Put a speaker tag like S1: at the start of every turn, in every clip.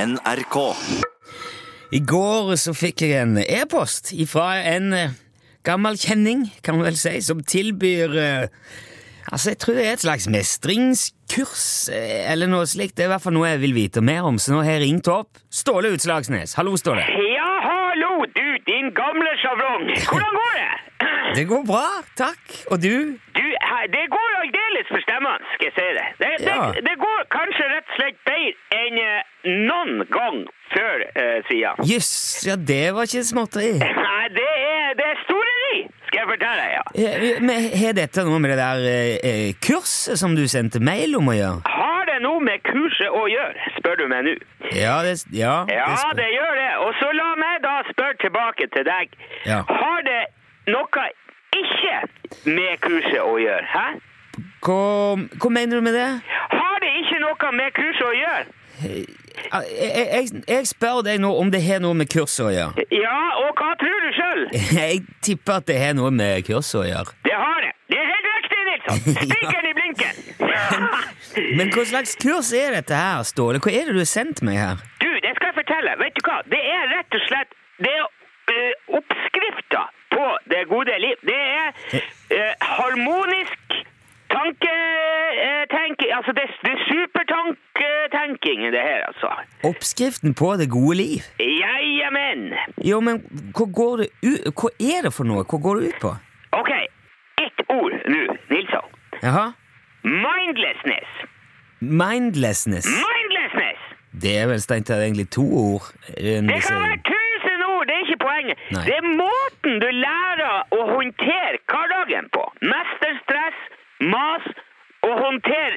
S1: NRK.
S2: I går så fikk jeg en e-post fra en eh, gammel kjenning, kan man vel si, som tilbyr eh, Altså, jeg tror det er et slags mestringskurs eh, eller noe slikt. Det er i hvert fall noe jeg vil vite mer om, så nå har jeg ringt opp Ståle Utslagsnes. Hallo, Ståle.
S3: Ja, hallo, du, din gamle sjavrong. Hvordan går det?
S2: Det går bra, takk. Og du?
S3: Du, he- det går aldeles forstemmende, skal jeg si det. Det,
S2: Ja.
S3: det, det går kanskje rett og slett bedre enn eh, noen gang før eh, siden.
S2: Jøss, ja, det var ikke småtteri.
S3: Nei, det er, det er storeri, skal jeg fortelle deg, ja.
S2: Eh, Men har dette noe med det der eh, eh, kurset som du sendte mail om å gjøre?
S3: Har det noe med kurset å gjøre, spør du meg nå?
S2: Ja, det, ja,
S3: Ja,
S2: spør-
S3: det gjør det. Og så la meg da spørre tilbake til deg.
S2: Ja.
S3: Har det noe ikke med kurset å gjøre, hæ?
S2: Hva, hva mener du med det?
S3: Har det ikke noe med kurset å gjøre?
S2: Ja, Ah, Jeg, jeg, jeg spør deg nå om det har noe med kurset å gjøre.
S3: Ja, og hva tror du sjøl?
S2: Jeg tipper at det har noe med kurset å gjøre.
S3: Det har det. Det er helt riktig, Nilsson. Stikkeren i blinken.
S2: Men hva slags kurs er dette her, Ståle? Hva er det du har sendt meg her?
S3: Du, det skal jeg fortelle. Vet du hva? Det er rett og slett Det er eh, oppskrifta på det gode liv. Det er eh, harmonisk tanketenking Altså, det, det er supertanketenking, det her, altså.
S2: Oppskriften på det gode liv?
S3: Jajamän.
S2: Jo, men hva, går det u hva er det for noe? Hva går det ut på?
S3: OK. Ett ord nå, Nilsson.
S2: Jaha?
S3: Mindlessness.
S2: Mindlessness.
S3: Mindlessness!
S2: Det er vel strengt tatt egentlig to ord. eh, når du
S3: Det kan
S2: sier
S3: være tusen ord, det er ikke poenget.
S2: Nei.
S3: Det er måten du lærer å håndtere hverdagen på. Mestre stress, mas og håndtere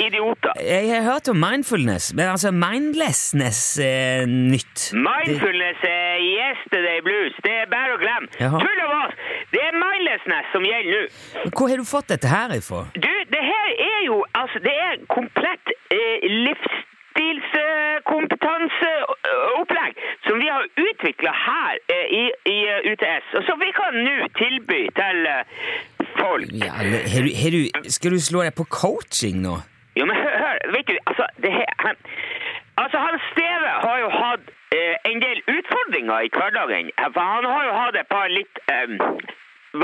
S3: idioter.
S2: Jeg har hørt om mindfulness, men altså mindlessness er nytt.
S3: Mindfulness er yesterday blues. Det er bare å glemme.
S2: Jaha.
S3: Tull og vas! Det er mindlessness som gjelder nå.
S2: Det, hvor har du fått dette her ifra?
S3: Du, det her er jo altså, det er komplett eh, livsstilskompetanseopplegg eh, som vi har utvikla her eh, i, i eh, UTS, og som vi kan nå tilby til eh, folk.
S2: Ja, eller, har du, har du, skal du slå deg på coaching nå?
S3: Jo, men hør, hør vet du, altså, det her, han, altså han Steve har jo hatt eh, en del utfordringer i hverdagen. For han har jo hatt et par litt eh,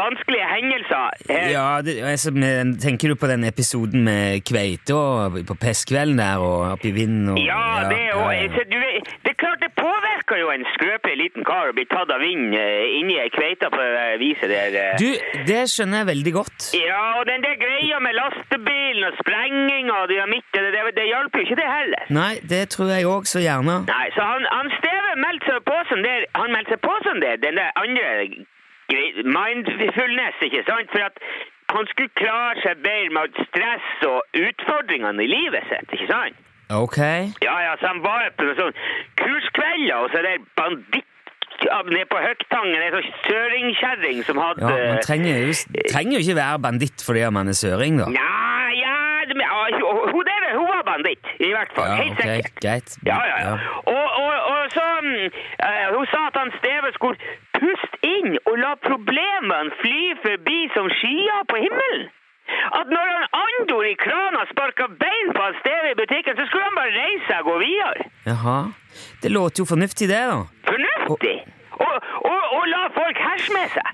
S3: vanskelige hendelser. eh,
S2: Ja, det, altså, men tenker du på den episoden med kveite og på pestkvelden der og opp i vinden og
S3: Ja, det er
S2: ja, ja.
S3: jo du vet- Det er klart det påvirker jo en skrøpelig liten kar å bli tatt av vind eh, inni ei kveite på det viset der. eh.
S2: Du, det skjønner jeg veldig godt.
S3: Ja, og den der greia med lastebilen og sprenging og dynamitt, det, det, det hjalp jo ikke det heller.
S2: Nei, det tror jeg òg så gjerne.
S3: Nei, så han, han Steve meldte seg på som der, han meldte seg på som der, den der andre grei- mindfulness, ikke sant? For at han skulle klare seg bedre med stress og utfordringene i livet sitt, ikke sant?
S2: Ok.
S3: Ja, ja, så han var på noen sånn kurskvelder, og så er det banditt ja, nede på Høgtangen, en sånn søringkjerring som hadde
S2: Ja, Man trenger jo, trenger jo ikke være banditt fordi om man er søring, da.
S3: Nei, ja, det- men, ja, hun- hun der, hun var banditt, i hvert fall.
S2: Ja, ok,
S3: Helt sikkert.
S2: greit.
S3: Ja, ja, ja.
S2: Ja.
S3: Og, og, og så mm, eh, Hun sa at han Steve skulle puste inn og la problemene fly forbi som skyer på himmelen. At når han Andor i krana sparka bein på han Steve i butikken, så skulle han bare reise seg og gå videre.
S2: Jaha. Det låter jo fornuftig, det, da.
S3: Fornuftig! Og, og, og la folk herse med seg.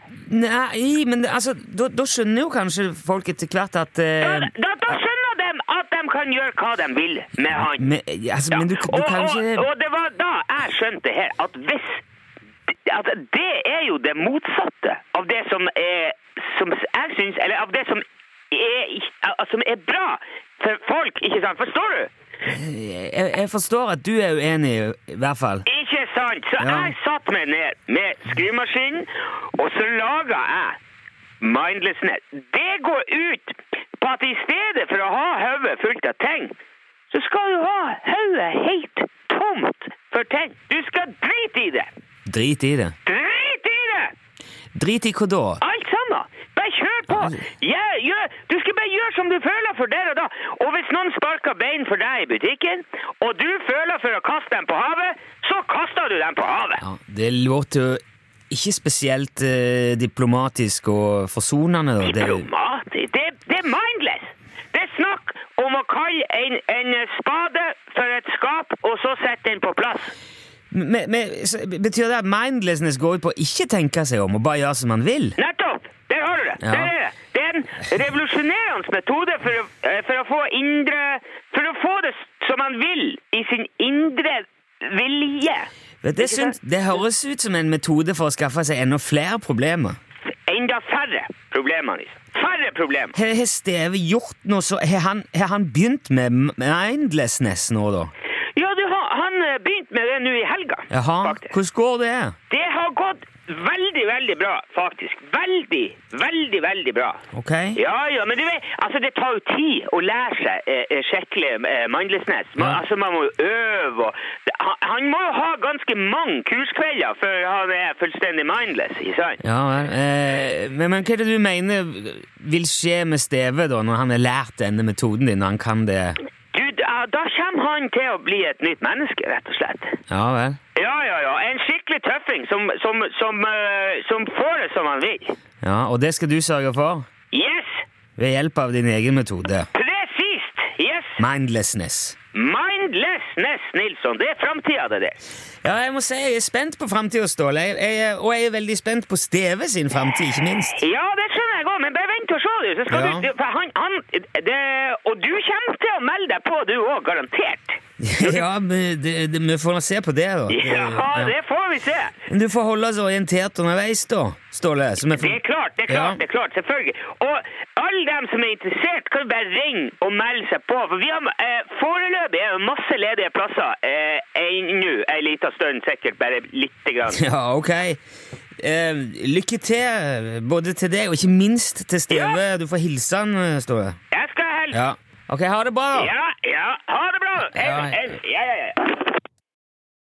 S2: Nei, men det- altså, da, da skjønner jo kanskje folk etter hvert at
S3: Da,
S2: eh,
S3: da, da skjønner de at de kan gjøre hva de vil med han.
S2: men, altså,
S3: Ja.
S2: men du, du
S3: og,
S2: kan ikke
S3: og, og det var da jeg skjønte her at hvis at Det er jo det motsatte av det som er som jeg syns Eller av det som er, som er bra for folk, ikke sant? Forstår du?
S2: jeg, jeg forstår at du er uenig, i hvert fall.
S3: Ikke sant? Så
S2: Ja.
S3: jeg satt meg ned med skrivemaskinen, og så laga jeg Mindlessness. Det går ut på at i stedet for å ha hodet fullt av ting, så skal du ha hodet helt tomt for ting. Du skal drite i det!
S2: Drit i det.
S3: Drit i det!
S2: Drit i hva da?
S3: Alt sammen! Bare kjør på! Ja, gjør- Du skal bare gjøre som du føler for der og da. Og hvis noen sparker bein for deg i butikken, og du føler for å kaste dem på havet, så kaster du dem på havet.
S2: Ja, det låter jo ikke spesielt eh, diplomatisk og forsonende. Da. Det,
S3: Diplomatisk? Det, det er mindless! Det er snakk om å kalle en, en spade for et skap, og så sette den på plass.
S2: Men, men, så betyr det at mindlessness går ut på å ikke tenke seg om og bare gjøre som man vil?
S3: Nettopp! Der har du det.
S2: Ja.
S3: Der er det. Det er en revolusjonerende metode for, å- eh, for å få indre For å få det som man vil i sin indre vilje.
S2: Vet, det, syns, det høres ut som en metode for å skaffe seg enda flere problemer.
S3: Enda færre problemer, liksom. Færre problemer.
S2: Har, har Steve gjort noe så Har han, har han begynt med m- mindlessness nå, da?
S3: Ja, du, har- han eh, begynte med det nå i helga,
S2: Jaha,
S3: faktisk.
S2: hvordan går det?
S3: Det har gått veldig, veldig bra, faktisk. Veldig, veldig, veldig bra.
S2: Ok?
S3: Ja, ja, men du vet, altså det tar jo tid å lære seg eh, eh, skikkelig eh, mindlessness. Man,
S2: Ja.
S3: Altså man må jo øve og det- han, han må jo ha ganske mange kurskvelder før han er fullstendig mindless, ikke sant?
S2: Ja vel. Eh, men, men hva er det du mener vil skje med Steve da, når han har lært denne metoden din? Han kan det
S3: Du, da, da kommer han til å bli et nytt menneske, rett og slett.
S2: Ja vel.
S3: Ja, ja, ja. En skikkelig tøffing som, som, som, eh, som får det som han vil.
S2: Ja, Og det skal du sørge for?
S3: Yes!
S2: Ved hjelp av din egen metode.
S3: Presist! Yes!
S2: Mindlessness.
S3: Mindlessness, Nilsson. Det er framtida, det der.
S2: Ja, jeg må si jeg er spent på framtida, Ståle. Jeg, jeg, og jeg er veldig spent på Steve sin framtid, ikke minst.
S3: Ja, det skjønner jeg òg, men bare vent og se, du. Så skal
S2: Ja.
S3: du for han, han, det, og du kommer til å melde deg på, du òg, garantert.
S2: ja, men det, det, vi får se på det, da. Det-
S3: Ja, det får vi se.
S2: Men du får holde oss orientert underveis, da, Ståle. Så vi får...
S3: Det er klart, det er klart,
S2: Ja.
S3: det er klart, selvfølgelig. Og alle dem som er interessert, kan jo bare ringe og melde seg på. For vi har eh, foreløpig er det masse ledige plasser eh, ennå, ei lita stund sikkert, bare lite grann.
S2: Ja, ok. Eh, lykke til, både til deg og ikke minst til Steve. Du får hilse han, eh, Ståle.
S3: Jeg skal helst.
S2: Ja. Ok, ha det bra, da.
S3: Ja, ja. Ha det bra! Hei,
S2: Ja.
S3: hei. Ja, ja, ja.